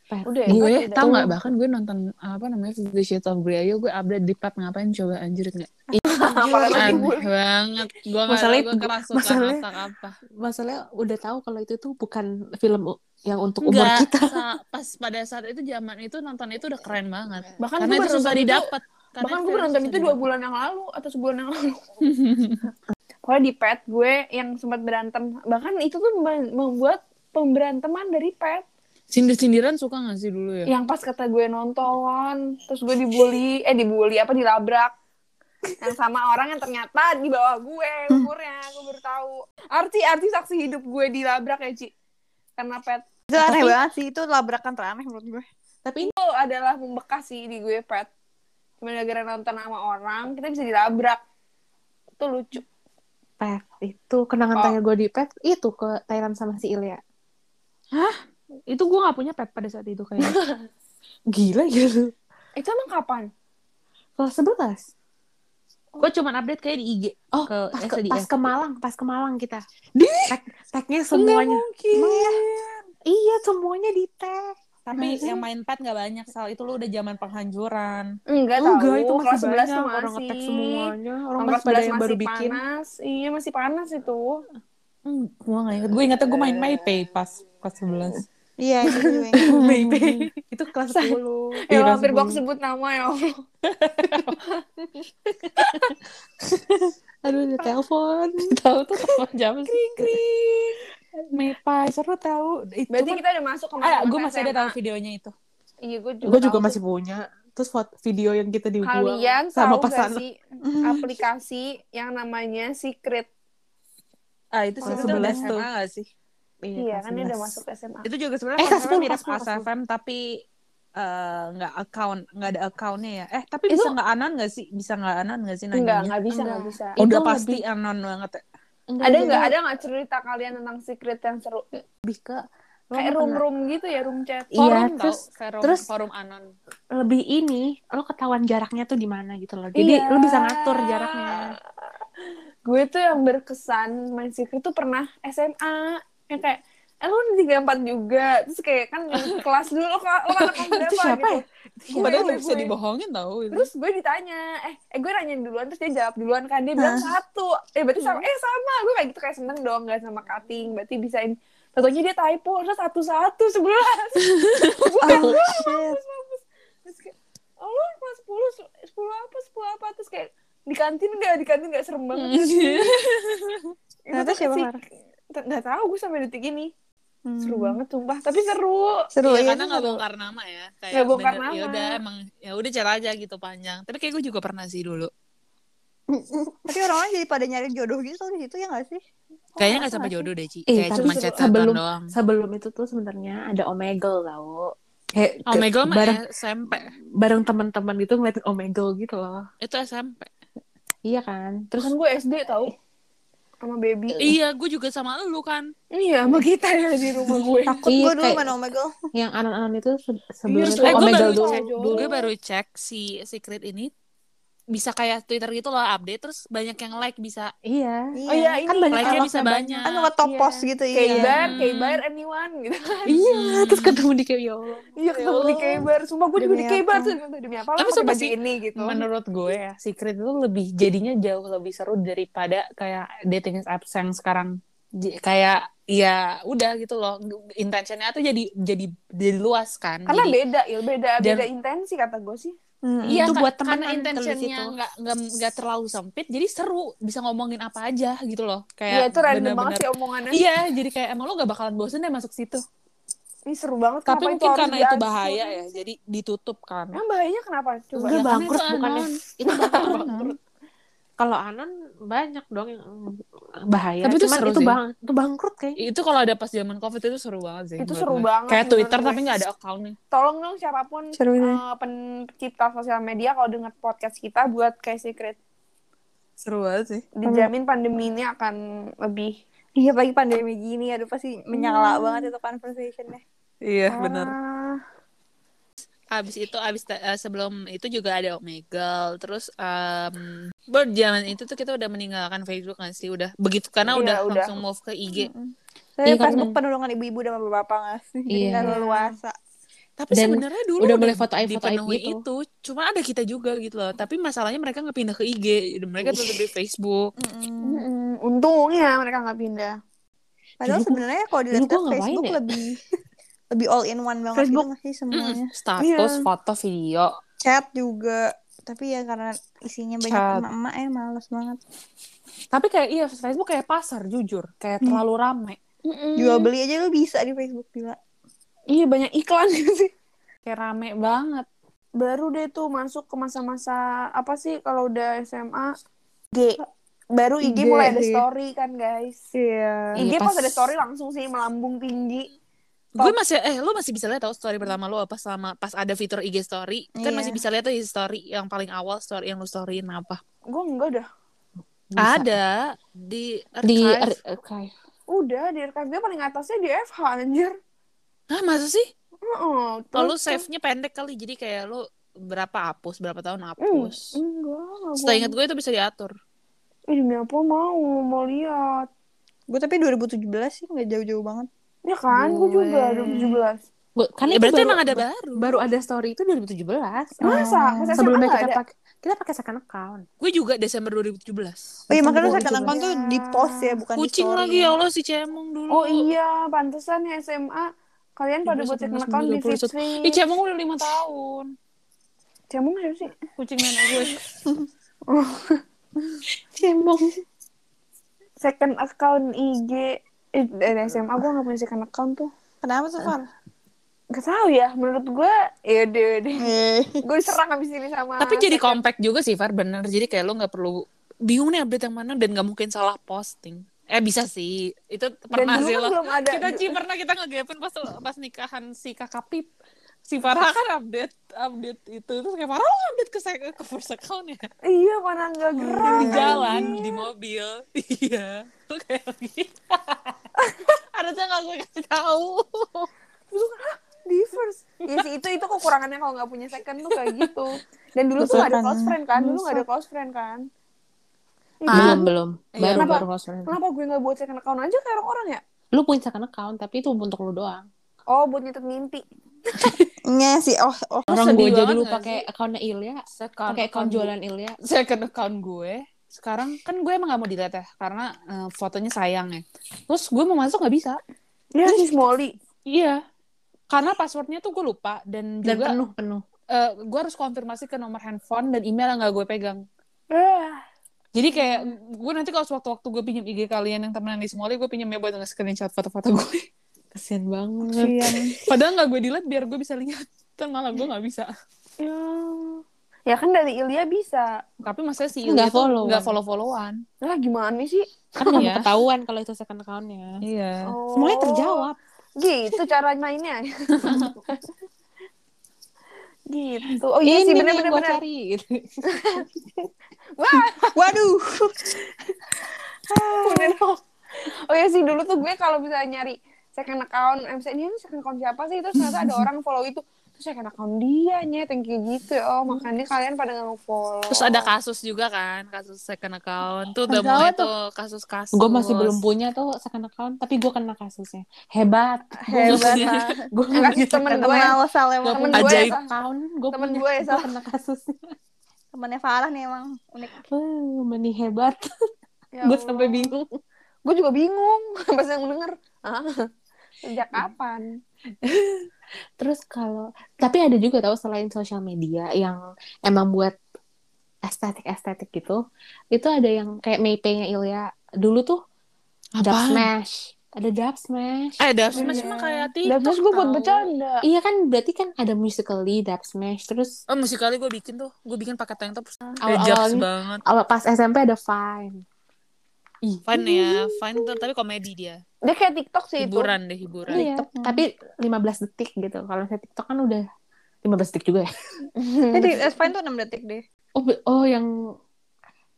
D: Pet.
C: Udah, ya,
A: gue
C: Pet udah.
A: tau nggak bahkan gue nonton apa namanya The Shades of Grey aja gue update di pad ngapain coba anjir nggak
C: Apalagi
A: aneh
C: gue.
A: banget gue nggak tahu
D: Masalahnya-
A: gue kerasukan
D: masalahnya-
A: otak apa
D: Masalahnya udah tahu kalau itu tuh bukan film u- yang untuk umur
A: Nggak,
D: kita.
A: sa- pas pada saat itu zaman itu nonton itu udah keren banget
C: Bahkan
A: karena
C: gue
A: itu
C: baru
A: susah
C: nonton itu-
A: didapat Karena
C: Bahkan gue nonton itu dua bulan yang lalu atau sebulan yang lalu. Pokoknya di Pet gue yang sempat berantem. Bahkan itu tuh mem- membuat pemberanteman dari Pet.
A: sindir-sindiran suka gak sih dulu ya
C: Yang pas kata gue nonton, terus gue dibully, eh dibully apa dilabrak. Yang sama orang yang ternyata di bawah gue umurnya, gue baru tahu. Arti arti saksi hidup gue dilabrak ya, Ci. Karena Pet
B: Itu aneh banget sih, itu labrakan teraneh menurut gue.
D: Tapi ini
C: itu adalah membekas sih di gue pet cuma gara-gara nonton sama orang kita bisa dilabrak itu lucu
D: Pet itu kenangan
C: Oh.
D: terakhir gue di Pet itu ke Thailand sama si Ilya.
A: itu gue gak punya pet pada saat itu kayaknya
D: Gila gitu.
C: itu emang kapan
D: Kelas 11.
A: gue cuma update kayak di IG
D: Oh,
A: ke
D: pas ke,
A: SDF
D: pas ke Malang, pas ke Malang kita. Tag, tagnya semuanya. Emang iya? Iya, semuanya di tag.
A: tapi yang main pet gak banyak soal itu lu udah zaman penghancuran
C: enggak tahu
D: Enggak, itu masih
C: kelas 11
D: banyak
C: tuh
D: orang
C: masih
D: ngetek semuanya. Orang
C: kelas
D: masih pada
C: 11
D: yang baru
C: masih
D: bikin.
C: panas iya masih panas itu
A: hmm, gue gak inget gue ingetnya gue main Eh, Maypay pas kelas 11
B: Iya, itu juga yang-
D: Maybe. itu kelas 10.
C: ya
A: Iya,
C: hampir gue
A: sebelum-
C: sebut nama ya
D: Aduh, ada telepon.
A: tahu tuh telepon jam kring kring Maypay seru tahu itu
C: berarti
A: kan-
C: kita udah masuk ke
A: ah
C: masa-masa
A: gue masih ada
C: SMA.
A: tahu videonya itu
C: iya gue juga,
D: Gue juga
C: tahu. ya.
D: masih punya. Terus foto video yang kita dibuang
C: kalian
D: sama
C: tahu gak
D: pasangan.
C: sih aplikasi yang namanya secret
A: ah
C: Oh,
A: itu
D: Kelas
A: sebetulnya udah
D: 11 tuh.
A: SMA gak sih
C: iya
D: kelas
C: kan dia udah
D: 11.
C: masuk SMA
A: itu juga sebenarnya
D: Eh, kelas
A: konsepnya
D: 10,
A: mirip
D: kelas 10, kelas
A: ASFM tapi eh, nggak account nggak ada accountnya ya eh tapi
C: Itu-
A: bisa nggak anon nggak sih bisa nggak anon nggak sih
C: enggak
A: nanyanya
C: nggak bisa nggak
D: Enggak. Iya,
C: bisa
A: Eh, udah
D: Itu
A: pasti anon banget ya.
C: ada nggak ada nggak cerita kalian tentang secret yang seru
D: lebih ke lo
C: kayak
D: kena-
C: room room gitu ya room chat
D: Iya,
A: tau,
D: terus-
A: forum,
D: terus-
A: forum anon
D: lebih ini lo ketahuan jaraknya tuh di mana gitu loh jadi
C: Iya.
D: lo bisa ngatur jaraknya
C: gue tuh yang berkesan main secret tuh pernah SMA yang kayak eh lu udah tiga empat juga terus kayak kan ngikut kelas dulu lo ka- lo anak nomor berapa
D: itu siapa
C: gitu
D: ya
C: Gue,
A: padahal
C: gue,
A: nggak bisa
C: gue.
A: dibohongin tau itu
C: terus gue ditanya eh eh gue nanya duluan terus dia jawab duluan kan dia bilang satu eh berarti sama eh sama gue kayak gitu kayak seneng dong nggak sama cutting berarti bisain Tentunya dia typo, terus satu-satu sebelas. Bukan,
B: Oh, shit.
C: terus kayak oh lu kelas 10 sepuluh apa sepuluh apa terus kayak di kantin nggak di kantin nggak serem
A: Hmm.
C: banget terus itu
B: Ternyata
C: tuh
B: siapa
C: sih-
B: marah?
C: t- nggak tahu gue sampai detik ini
B: Hmm.
C: seru banget sumpah tapi seru
B: Seru
A: Iya,
B: ya.
A: karena nggak bongkar nama ya kayak
C: Nggak bongkar
A: bener,
C: nama.
A: ya udah emang ya udah cara aja gitu panjang tapi kayak gue juga pernah sih dulu
B: Tapi orang-orang jadi pada nyari jodoh gitu di situ ya nggak sih?
A: kayaknya nggak sampai jodoh deh Ci
D: Eh,
A: kayak
D: tapi
A: cuma
D: se-
A: chat sebelum
D: sebelum-
A: doang
D: sebelum itu tuh sebenarnya ada omegle tau kayak
A: Oh my
D: ke-
A: god, mah
D: bareng
A: SMP.
D: bareng teman-teman gitu ngeliatin omegle gitu loh
A: Itu SMP.
D: iya kan
C: terus kan
D: terus
C: gue SD tahu sama baby
A: Iya, gue juga sama lu kan.
C: iya sama kita ya di rumah gue
B: Takut oh
D: Iya,
B: gue dulu
D: kayak-
B: main Omegle.
D: yang anon-anon itu se- sebelum
C: Iya,
D: itu
C: soalnya
A: Eh, gue
D: omegle
A: baru
D: dulu
A: cek,
C: dulu.
A: gue baru cek si secret ini bisa kayak Twitter gitu loh update terus banyak yang like bisa
D: iya
C: oh iya ini
D: kan banyak
A: like-nya
D: yang
A: bisa
D: like-nya
A: banyak.
B: Kan nggak top
C: Iya.
B: post gitu
C: kayak
B: ya.
C: bar kayak bar anyone gitu kan
D: iya terus ketemu di kayak ya Allah.
C: iya ketemu di kayak bar sumpah gue juga
B: Demi
C: di kayak bar
B: apa?
C: tuh demi apa lah
A: Tapi
C: pakai
A: sumpah
C: baju
A: sih,
C: ini gitu
A: menurut gue ya secret itu lebih jadinya jauh lebih seru daripada kayak dating apps yang sekarang J- kayak ya udah gitu loh intentionnya tuh jadi jadi jadi luas kan Jadi-
C: karena
A: Iya.
C: beda ya beda
A: Dan-
C: beda intensi kata gue sih
B: Hmm.
A: Iya,
D: Itu
A: ka-
D: buat
A: karena
D: temenan kalau di
A: intentionnya
D: situ.
A: nggak nggak nggak terlalu sempit, jadi seru bisa ngomongin apa aja gitu loh.
C: Iya
A: Kayak
C: itu random banget
A: bener-bener-
C: sih omongannya.
A: Iya, jadi kayak emang lo gak bakalan bosen deh masuk situ.
C: Ini seru banget.
A: Tapi
C: kenapa
A: mungkin
C: harus
A: karena itu
C: diatur?
A: bahaya ya, jadi ditutup kan.
C: Emang bahayanya kenapa? Coba.
D: Enggak
A: Iya, karena
D: bangkrut
A: itu
D: bukannya.
A: anon.
D: Itu bangkrut. Kalau anon banyak dong yang bahaya.
A: Tapi itu
D: Cuman
A: seru
D: itu
A: sih. Iya,
D: bang itu bangkrut kayaknya.
A: Itu kalau ada pas zaman covid itu seru banget sih.
C: Itu
A: menurut
C: seru
A: gue.
C: banget
A: Kayak
C: sih
A: Twitter
C: menurut
A: tapi
C: gue.
A: nggak ada accountnya.
C: Tolong dong siapapun
B: Seru ya.
C: eh, pencipta sosial media kalau dengar podcast kita buat kayak secret.
A: Seru banget sih.
C: Dijamin pandemi ini akan lebih
B: Iya pagi pandemi gini aduh pasti menyala banget itu conversationnya.
E: Iya, benar.
C: Ah,
A: Abis itu abis ta- eh, sebelum itu juga ada Omegle terus em baru zaman itu tuh kita udah meninggalkan Facebook kan sih udah begitu karena
C: Iya,
A: udah,
C: udah.
A: langsung
C: Hmm.
A: move ke IG.
B: Saya
D: Iya, karena-
B: Facebook penuh dengan ibu-ibu dan bapak-bapak nggak sih? Jadi
D: Iya.
B: nggak leluasa.
A: Tapi
D: Dan
A: sebenarnya dulu
D: udah mulai foto aib foto aib
A: dipenuhi
D: gitu.
A: itu cuma ada kita juga gitu loh tapi masalahnya mereka nggak pindah ke IG mereka tetap di Facebook
C: mm-mm. untungnya mereka nggak pindah.
B: Padahal
D: Dulu-
B: sebenarnya kalau
D: dulu
B: dilihat kan
D: gua ngapain
B: Facebook
D: ya?
B: lebih lebih all in one banget
C: Facebook.
B: gitu nggak sih semuanya.
A: status
D: Iya.
A: foto video
B: Chat juga tapi ya karena isinya banyak
D: Chat.
B: emak-emak ya males banget.
D: Tapi kayak iya Facebook kayak pasar jujur, kayak terlalu rame.
B: Jual beli aja lu bisa di Facebook gila.
C: Iya banyak iklan sih.
D: Kayak rame banget.
C: Baru deh tuh masuk ke masa-masa apa sih kalau udah SMA? G. Baru
B: IG
C: IG, mulai ada
B: sih.
C: story kan guys.
B: Iya.
D: Iya,
C: IG pas
D: pas-
C: ada story langsung sih melambung tinggi. Iya.
A: gue masih eh lu masih bisa lihat tau story pertama lu apa selama pas ada fitur IG story kan
B: Iya.
A: masih bisa lihat tuh di story yang paling awal story yang lu storyin apa
C: Gue enggak dah.
D: Bisa.
A: ada di
D: di
A: archive.
D: er- archive.
C: Udah di archive dia paling atasnya di FH anjir.
A: Hah, masa sih
C: Heeh. terus
A: kalau lu
C: tuh-
A: save-nya pendek kali jadi kayak lu berapa hapus berapa tahun hapus
C: Enggak, enggak.
A: Setahu ingat gue itu bisa diatur
C: Ih, demi apa mau mau lihat.
B: Gue tapi 2017 sih nggak jauh-jauh banget.
C: Ya kan, gue juga 2017.
D: Gua- Kan
A: ya,
D: itu
A: berarti
D: baru-
A: emang ada baru
D: baru ada story itu 2017.
C: Masa? Pas SMA
D: Sebelumnya
C: nggak
D: kita
C: ada?
D: pakai kita pakai second account.
A: gue juga Desember 2017
B: Oh iya
D: Itu
B: makanya
D: gua
B: second
D: juga.
B: account tuh di post ya bukan
A: kucing
B: di story.
A: lagi ya Allah si Cemong dulu
C: Oh iya, pantesan ya SMA. Kalian pada
A: 19,
C: buat second account di
A: 21.
C: Fitri.
A: Ih, Cemong udah lima tahun.
C: Cemung siapa sih?
A: Kucing nenek gue.
C: Cemung. Second account IG. Eh, dari SMA gue gak punya second account tuh.
B: Kenapa tuh Far?
C: Gak tau ya, menurut gue, ya deh deh.
B: Eh.
C: Gue diserang abis ini sama.
A: Tapi jadi compact juga sih, Far. Bener. Jadi kayak lo nggak perlu bingung nih update yang mana dan nggak mungkin salah posting. Eh bisa sih. Itu
C: Dan
A: pernah
C: dulu
A: sih
C: kan
A: lo.
C: belum ada.
A: Kita Ci pernah kita ngegapin pas pas nikahan si kakak Pip. Si Farah kan update update itu terus kayak Farah lo update ke sec- ke first account ya
C: Iya, mana gak gerak.
A: di jalan di mobil iya lo kayak gitu. lagi harusnya nggak gue kasih tahu
C: di first ya sih itu itu kekurangannya kalau nggak punya second tuh kayak gitu dan dulu tuh
B: Betul
C: nggak ada
B: kan?
C: close friend kan dulu nggak ada close friend kan
A: Ah.
D: Belum belum.
A: Iya,
D: Baru
C: kenapa?
D: baru langsung.
C: kenapa gue nggak buat second account aja kayak orang-orang ya
D: Lu punya second account tapi itu untuk lu doang.
C: oh buat nyetet mimpi
B: Iya sih. Oh, oh.
D: Orang
A: sedih
D: gue
A: banget
D: jadi lu
A: nggak
D: pakai accountnya Ilya,
A: second
D: pakai account jualan Ilya.
A: second account gue sekarang kan gue emang gak mau dilihat ya karena eh, fotonya sayang ya terus gue mau masuk nggak bisa
C: ya si Molly
A: iya karena passwordnya tuh gue lupa dan
D: Dan
A: juga
D: penuh penuh.
A: eh, gue harus konfirmasi ke nomor handphone dan email yang gak gue pegang
C: Eh,
A: Ah. jadi kayak gue nanti kalau sewaktu-waktu gue pinjam IG kalian yang temenan di Smalley gue pinjamnya buat nge-screenshot foto-foto gue
D: Kasian banget.
B: Kasian.
A: padahal gak gue delete biar gue bisa lihat kan malah gue gak bisa
C: ya. ya kan dari Ilya bisa
A: tapi maksudnya si
D: Nggak follow.
A: nggak follow-followan
C: lah gimana sih
D: Kan nggak
A: Iya.
D: mau ketahuan kalau itu second accountnya.
A: iya
C: oh.
D: Semuanya terjawab.
C: gitu cara mainnya gitu oh iya
D: Ini
C: sih
D: nih yang
C: bener-bener
D: gua
C: bener.
D: cari. gitu.
B: Waduh.
C: Bener. Oh ya sih dulu tuh gue kalau bisa nyari second account, eh, misalnya ini second account siapa sih? Terus ternyata ada orang follow itu, terus second account dia nyet yang kayak gitu. Oh makanya kalian pada nggak follow.
A: Terus ada kasus juga kan, kasus second account tuh udah
B: Ada
A: mulai
B: apa tuh?
A: tuh kasus-kasus.
D: Gue masih belum punya tuh second account, tapi gue kena kasusnya. Hebat.
B: Hebat.
A: Iya. ya.
B: Far.
D: Gue
C: Enggak sih temen
B: Temen
C: gue,
B: Alsa emang.
C: temen
D: punya
C: gue,
A: Ajaib.
B: ya.
C: Sal.
D: account, gue
C: temen
D: punya
C: gue ya, Sal.
D: kena kasusnya.
B: Temennya Farah nih emang unik.
D: Uh, meni hebat. gue sampai bingung.
C: Gue Ya juga bingung pas yang denger. Ah, sejak kapan?
D: Terus kalau tapi ada juga tau selain sosial media yang emang buat estetik-estetik gitu, itu ada yang kayak Maypay-nya Ilya. Dulu tuh Dub
A: Apaan?
D: Smash. Ada Dub Smash.
A: Eh, Dub Smash mah kayak TikTok.
C: Dan terus gue buat
A: tau.
C: bercanda.
D: Iya kan berarti kan ada musically Dub Smash. Terus
A: Oh, musikali gue bikin tuh. Gue bikin pakai tank top. Kayak jabs
D: awal-awalnya
A: banget.
D: awal pas SMP ada Vine.
A: Fun ya. Fun tuh, tapi komedi dia.
C: Dia kayak TikTok sih itu.
A: Hiburan deh, hiburan.
D: Iya, tapi 15 detik gitu. Kalau saya TikTok kan udah 15 detik juga ya.
B: Jadi S Fine tuh 6 detik deh.
D: Oh, be- oh yang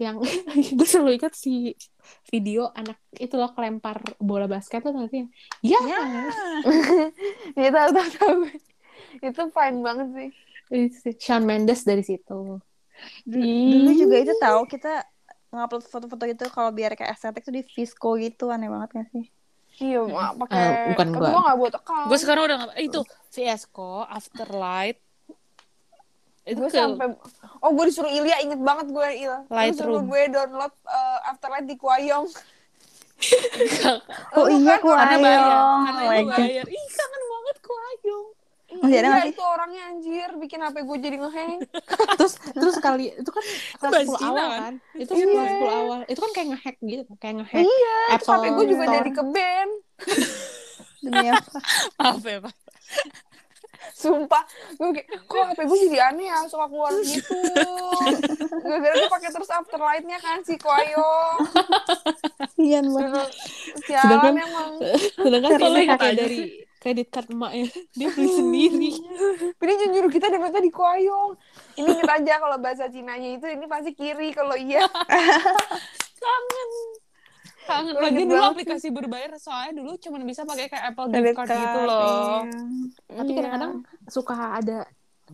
D: yang gue selalu ingat si video anak itu loh kelempar bola basket tuh nanti yang ya
B: Iya.
C: ya tahu tahu tahu itu fine banget sih
D: Itu Shawn Mendes dari situ
B: Dulu juga itu tahu kita ngupload foto-foto gitu kalau biar kayak estetik tuh di Visco gitu aneh banget gak sih?
C: iya mak pakai
D: Eh, bukan
C: Tapi
D: gua.
C: gua nggak buat account
A: Gue sekarang udah nggak- eh, itu Fiasco, Afterlight. Itu
C: gue
A: ke-
C: sampai oh gue disuruh Ilya inget banget gue Il Lu suruh
A: Lightroom.
C: gue download eh, Afterlight di Kwayong
B: Oh
C: Lu
B: iya,
C: kan orangnya
B: Kwayong.
C: bayar.
A: karena
B: Oh my
A: itu
B: God.
A: bayar. Ih kangen banget Kwayong.
B: Masih ada
C: Iya,
B: nggak sih?
C: itu orangnya anjir bikin HP gue jadi ngehang
D: terus terus kali itu kan kelas
A: bahasa
D: 10
A: Cina
D: awal
A: kan?
D: kan itu
C: Iya.
D: kelas 10 awal itu kan kayak ngehack gitu kayak ngehack
C: iya terus
D: Apple
C: HP gue juga
D: Store.
C: dari ke band
B: Demi apa?
A: Maaf ya Pak.
C: sumpah gue kayak kok HP gue jadi aneh ya suka keluar gitu gue gara gue pakai terus Afterlight-nya kan si Kwayong
B: Kasian banget.
C: sialan
D: Sedangkan-
C: emang
D: sedangkan
A: Terus
D: kita
A: ingat
D: pakai
A: aja.
D: dari kredit card emaknya dia beli sendiri
C: Ini jujur kita dapat di Koyong. Ini kita aja kalau bahasa Cinanya itu ini pasti kiri kalau iya.
A: Kangen.
C: Kangen
A: Lagi dulu
C: banget.
A: aplikasi berbayar soalnya dulu cuma bisa pakai kayak Apple gift
B: Debit
A: card gitu
B: card, iya.
A: loh.
D: tapi kadang-kadang suka ada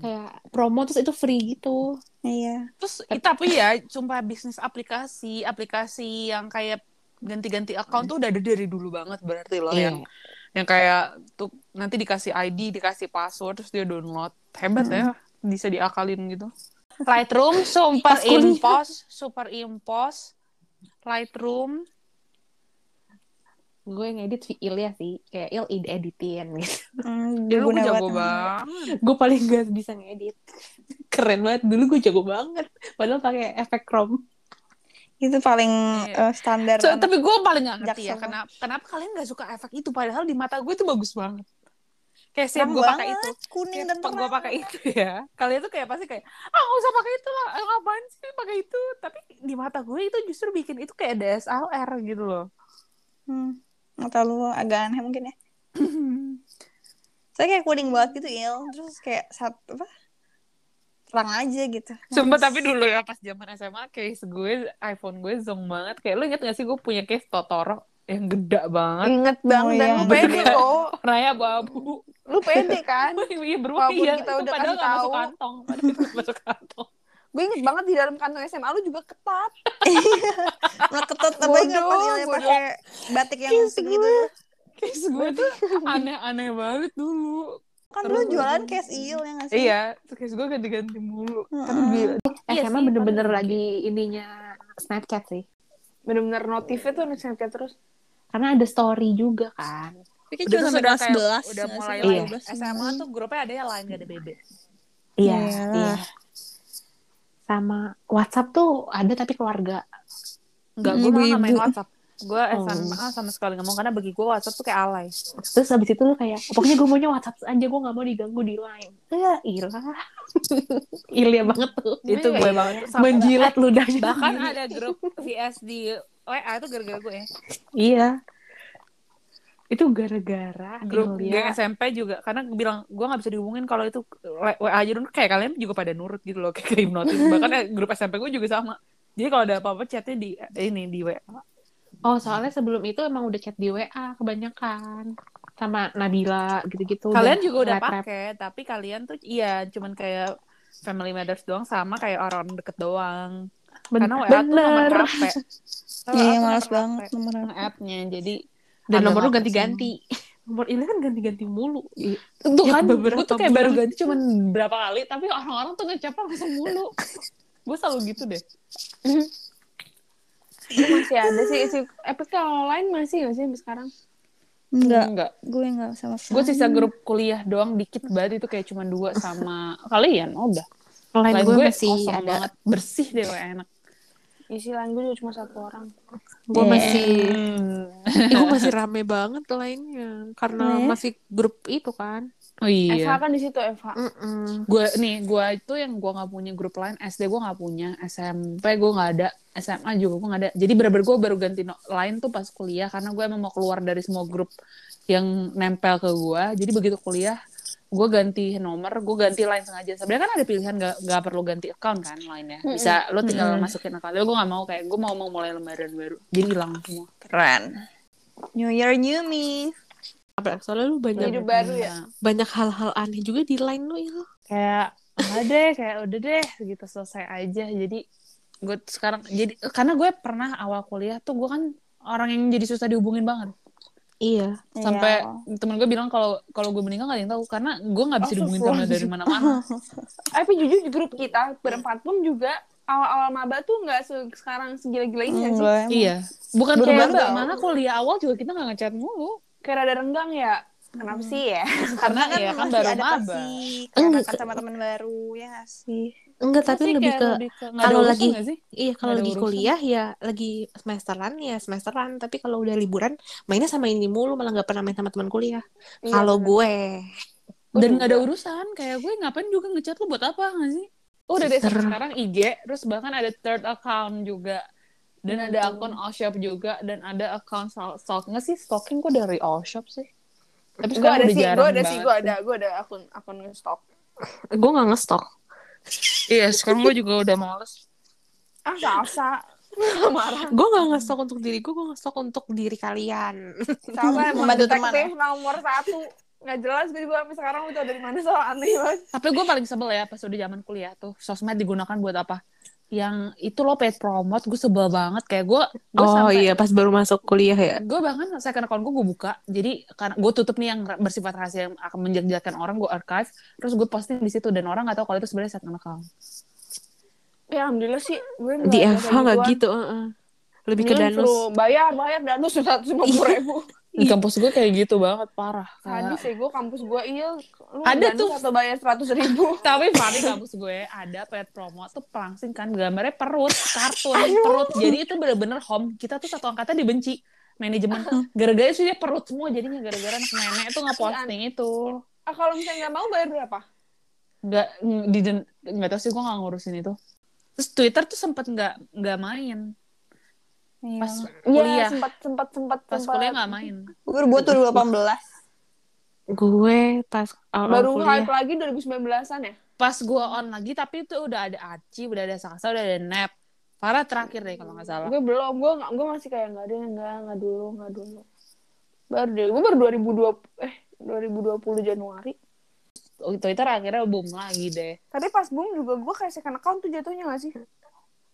D: kayak promo terus itu free gitu
B: Iya.
A: Terus i- tapi ya sumpah bisnis aplikasi, aplikasi yang kayak ganti-ganti account tuh udah ada dari dulu banget berarti
D: Oh, Iya.
A: loh yang yang kayak tuh nanti dikasih ID, dikasih password terus dia download. Hebat ya, bisa diakalin gitu. Lightroom, Super
D: Pas kuliah.
A: Impos, Super Impos, Lightroom.
D: gue ngedit si Ilya sih kayak Il id editin gitu
B: Hmm,
A: Dulu gue
B: guna
A: jago
B: banget.
A: banget.
D: gue paling gak bisa ngedit keren banget dulu gue jago banget padahal pakai efek Chrome
B: Itu paling
A: Iya.
B: eh, standar.
A: So,
B: anak.
A: tapi gue paling gak ngerti ya
B: Jaksel.
A: kenapa, kenapa kalian gak suka efek itu padahal di mata gue itu bagus banget. Kayak siap gue
B: Terang
A: pakai itu. Iya,
B: banget, Kuning dan
A: Kayak gue
B: terang.
A: pakai itu ya. Kalian tuh kayak pasti kayak ah nggak usah pakai itu lah, Eh, ngapain sih pakai itu? Tapi di mata gue itu justru bikin itu kayak DSLR gitu loh.
B: Hmm. Atau lu agak aneh mungkin ya. Saya kayak kuning banget gitu, Il. Terus kayak satu apa? Terang aja gitu.
A: Sumpah tapi dulu ya pas zaman SMA case gue iPhone gue zonk banget. Kayak lu inget gak sih gue punya case Totoro yang gede banget.
C: Inget banget
B: Oh,
C: dan
B: iya.
C: lu pede kok.
A: Warnanya abu-abu.
C: Lu pede kan?
A: Iya berwarna
C: Walaupun
A: ya.
C: kita
A: Itu
C: udah
A: padahal
C: kasih
A: gak masuk
C: tahu.
A: kantong. Padahal itu gak masuk kantong.
C: Gue inget banget di dalam kantong SMA lu juga ketat.
B: Nah, ketut apa enggak pas
C: Bodoh,
B: Il ya,
C: bodoh.
B: pakai batik yang gitu.
A: Kiss
B: segitu.
A: Case gue tuh aneh-aneh banget dulu.
B: Kan dulu
A: Terus-
B: jualan case Il ya nggak sih?
A: Iya, case gue ganti-ganti mulu. Tapi
B: Mm-mm.
A: bila-
D: eh
A: Iya
D: SMA
A: sih,
D: bener-bener
A: paling.
D: lagi ininya Snapchat sih
C: Bener-bener notifnya tuh Snapchat terus.
D: karena ada story juga kan
B: Tapi
A: Udah
B: cuma
A: tuh sudah
B: sampai
A: kayak-
B: 11
A: udah mulai
D: Iya.
A: lain. SMA tuh grupnya ada yang lain gak ada BB.
D: Iya,
B: Iyalah.
D: iya. Sama WhatsApp tuh ada tapi keluarga.
A: Enggak,
B: Mm,
C: Iya,
A: gue malah nggak main
B: ibu-ibu.
A: WhatsApp. Gue
D: Oh.
A: SMA sama sekali nggak mau karena bagi gue WhatsApp tuh kayak alay.
D: Terus habis itu lu kayak, pokoknya gue maunya WhatsApp aja, gue gak mau diganggu di line. Ya, ilah. Ilia banget tuh.
A: Itu gue banget. Iya, Sama-
D: Menjilat ludahnya.
A: Bahkan Kan ada gitu. grup VS di WA itu gara-gara gue ya.
D: Iya. Itu gara-gara
A: Grup geng
D: Ilia.
A: SMP juga karena gue bilang gue nggak bisa dihubungin kalau itu WA aja dulu kayak kalian juga pada nurut gitu loh kayak hipnotis. Bahkan eh, grup SMP gue juga sama. Jadi kalau ada apa-apa chatnya di eh, ini di WA.
D: Oh, soalnya sebelum itu emang udah chat di WA kebanyakan. Sama Nabila gitu-gitu.
A: Kalian juga udah
D: rep-rep.
A: pakai, tapi kalian tuh iya cuman kayak family matters doang sama kayak orang deket doang. Karena WA tuh nomor
D: Bener.
A: HP.
B: Iya, males banget nomor aku.
A: app-nya jadi
D: Dan
A: ada
D: nomor lu
A: laptop
D: ganti-ganti. Nomor Ilia kan ganti-ganti mulu.
A: Tuh
D: Ya,
A: kan,
D: beberapa
A: gue tuh kayak baru
D: bulan.
A: ganti cuman berapa kali, tapi orang-orang tuh ngecapnya langsung mulu. gue selalu gitu deh.
C: Gue masih ada sih. Si, eh, tapi kalau lain masih gak sih sampai sekarang?
B: Enggak, gue enggak sama
A: Gue
B: sekali.
A: sisa grup kuliah doang dikit banget itu kayak cuman dua sama kalian, udah.
D: Lain
A: Lain
D: gue masih
A: kosong
D: ada
A: banget. bersih deh gue enak.
C: Isi lain gue juga cuma satu orang.
D: gue
B: Yeah.
D: masih
A: Hmm.
D: itu masih rame banget lainnya karena
B: Yeah.
D: masih grup itu kan
A: Oh iya.
C: Eva kan di situ Eva.
A: gue nih gue itu yang gue nggak punya grup lain SD gue nggak punya SMP gue nggak ada SMA juga gue nggak ada jadi bener-bener gue baru ganti no- lain tuh pas kuliah karena gue emang mau keluar dari semua grup yang nempel ke gue jadi begitu kuliah gue ganti nomor gue ganti line sengaja sebenarnya kan ada pilihan gak, gak perlu ganti account kan line-nya bisa lo tinggal
C: Mm-mm.
A: masukin account tapi gue gak mau kayak gue mau mau mulai lembaran baru jadi hilang semua
C: Keren. New Year, New Me.
D: Apa? Soalnya lu banyak
C: Hidup baru ya.
A: Nah.
D: banyak hal-hal aneh juga di line lu Il.
A: kayak ada deh kayak udah deh gitu selesai aja jadi gue sekarang jadi karena gue pernah awal kuliah tuh gue kan orang yang jadi susah dihubungin banget
D: Iya.
A: sampai temen gue bilang kalau kalau gue meninggal gak ada yang tahu karena gue nggak bisa
C: Oh,
A: dihubungin sama dari mana-mana
C: Tapi jujur di grup kita berempat pun juga awal-awal maba tuh nggak se- sekarang segila-gilanya sih.
A: iya bukan
C: Baru
A: kayak
C: banget.
A: mana kuliah awal juga kita nggak ngechat mulu
C: Kayak rada renggang ya. Kenapa sih ya?
A: karena ya kan baru maba
D: Enggak.
B: Enggak sama teman baru ya nggak sih.
D: Enggak,
A: Sih,
D: tapi lebih
A: kayak nggak
D: ke
A: ada
D: kalau
A: urusan
D: lagi-
A: nggak sih?
D: iya kalau
A: ada
D: lagi
A: urusan.
D: kuliah ya lagi semesteran ya semesteran, tapi kalau udah liburan mainnya sama ini mulu malah nggak pernah main sama teman kuliah. kalau gue
A: dan
C: Udah.
A: nggak ada urusan kayak gue ngapain juga ngechat lu buat apa nggak sih oh, udah deh
D: Sister.
A: sekarang IG terus bahkan ada third account juga dan ada akun all shop juga dan ada account stalk stalk nggak sih stalking gue dari all shop sih tapi
C: Gue
A: sekarang
C: ada
A: udah
C: sih,
A: jarang
C: gue ada sih,
A: banget
C: gue ada, gue ada akun akun stok.
D: gue nggak ngestok.
A: iya sekarang gue juga udah males
C: Ah, salsa. Nggak marah.
D: Gue nggak ngestok untuk diri gue, gue ngestok untuk diri kalian.
C: Salsa emang
B: Membantu teman,
C: detektif nomor satu. Nggak jelas gue juga sampai sekarang udah dari mana soal aneh banget.
A: tapi gue paling sebel ya pas udah zaman kuliah tuh sosmed digunakan buat apa yang itu lo paid promote gue sebel banget kayak gue gue
D: oh
A: sampai Iya,
D: iya, pas baru masuk kuliah ya.
A: gue bahkan second account gue gue buka jadi karena gue tutup nih yang bersifat rahasia yang akan menjejakkan orang gue archive terus gue posting di situ dan orang nggak tahu kalau itu sebenarnya second account
C: Ya alhamdulillah sih, gue nggak
D: Di
C: ada
D: FH nggak
C: gangguan.
D: gitu, heeh. lebih ke
C: Mendingan suruh
D: danus.
C: Hmm, bayar bayar danus seratus lima puluh ribu
A: di kampus gue kayak gitu banget parah
C: hadis ya gue kampus gue iya lu
A: Ada
C: danus
A: tuh.
C: atau bayar seratus ribu
A: tapi Fani kampus gue ada pet promo tuh pelangsing kan gambarnya perut kartun perut jadi itu bener-bener home kita tuh satu angkatan dibenci manajemen gara-gara itu dia perut semua jadinya gara-gara anak nenek itu nggak posting itu
C: ah, kalau misalnya nggak mau bayar berapa
A: nggak ng- di den- nggak tahu sih gue nggak ngurusin itu terus Twitter tuh sempet nggak nggak main pas
C: iya
A: kuliah
C: sempat sempat sempat
A: pas
C: sempat
A: kuliah nggak main
B: Gue buat tuh 2018.
D: Gue pas awal
C: baru
D: kuliah.
C: hype lagi 2019an ya
A: pas gue on lagi tapi itu udah ada Aci udah ada Saksa udah ada Nep Farah terakhir deh kalau nggak salah
C: gue belum gue nggak gue masih kayak nggak ada nggak nggak dulu nggak dulu baru deh gue baru 2020 eh 2020 Januari
A: Twitter akhirnya boom lagi deh
C: tapi pas boom juga gue kayak second account tuh jatuhnya gak sih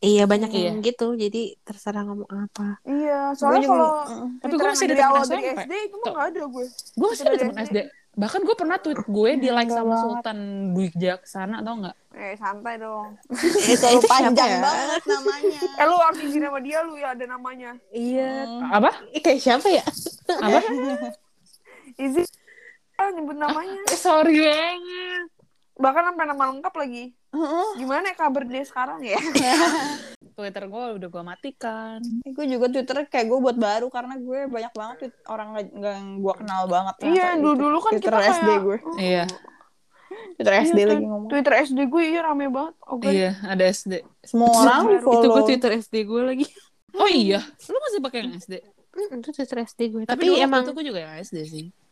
D: Iya banyak
A: Iya.
D: yang gitu, jadi terserah ngomong apa.
C: iya
B: Gue
C: soalnya
B: juga
C: kalau
B: Mm.
A: Tapi gue masih ada
C: Twitteran
A: temen
C: dari awal dari
A: SMP.
C: SD itu mah
A: Tuh.
C: nggak ada gue
A: gue masih ada
C: Dari
A: temen
C: SD.
A: SD bahkan gue pernah tweet gue di like
B: Enggak
A: sama
B: banget.
A: Sultan Dwi Jaksana tau nggak
C: eh santai dong
B: Ini terlalu
D: Itu siapa
B: panjang
D: ya?
B: banget namanya.
C: Eh lu harus izin sama dia lu ya ada namanya.
A: iya apa
D: Kayak siapa ya?
A: apa
C: Izin ah, nyebut namanya.
A: Eh, sorry banget
C: Bahkan sampai nama lengkap lagi.
B: Heeh.
C: Gimana ya kabar dia sekarang ya?
A: Twitter gue udah gue matikan
B: gue juga Twitter kayak gue buat baru karena gue banyak banget tweet orang nggak nggak- yang gue kenal banget.
C: Iya,
B: ternyata di
C: dulu-dulu kan
B: Twitter
C: kita kayak
B: SD gue.
D: Oh,
A: iya
B: Twitter SD
C: Iya,
B: lagi
C: Twi-
B: ngomong.
C: Twitter SD gue iya rame banget. Oke.
A: iya ada SD
B: Semua orang
C: Baru. Itu
D: Itu
B: follow.
D: gue Twitter SD gue lagi.
A: oh iya lu masih pakai yang SD
D: Mm, Itu Twitter SD gue.
A: tapi,
D: Tapi,
A: dulu waktu
D: emang
A: itu gue juga yang SD sih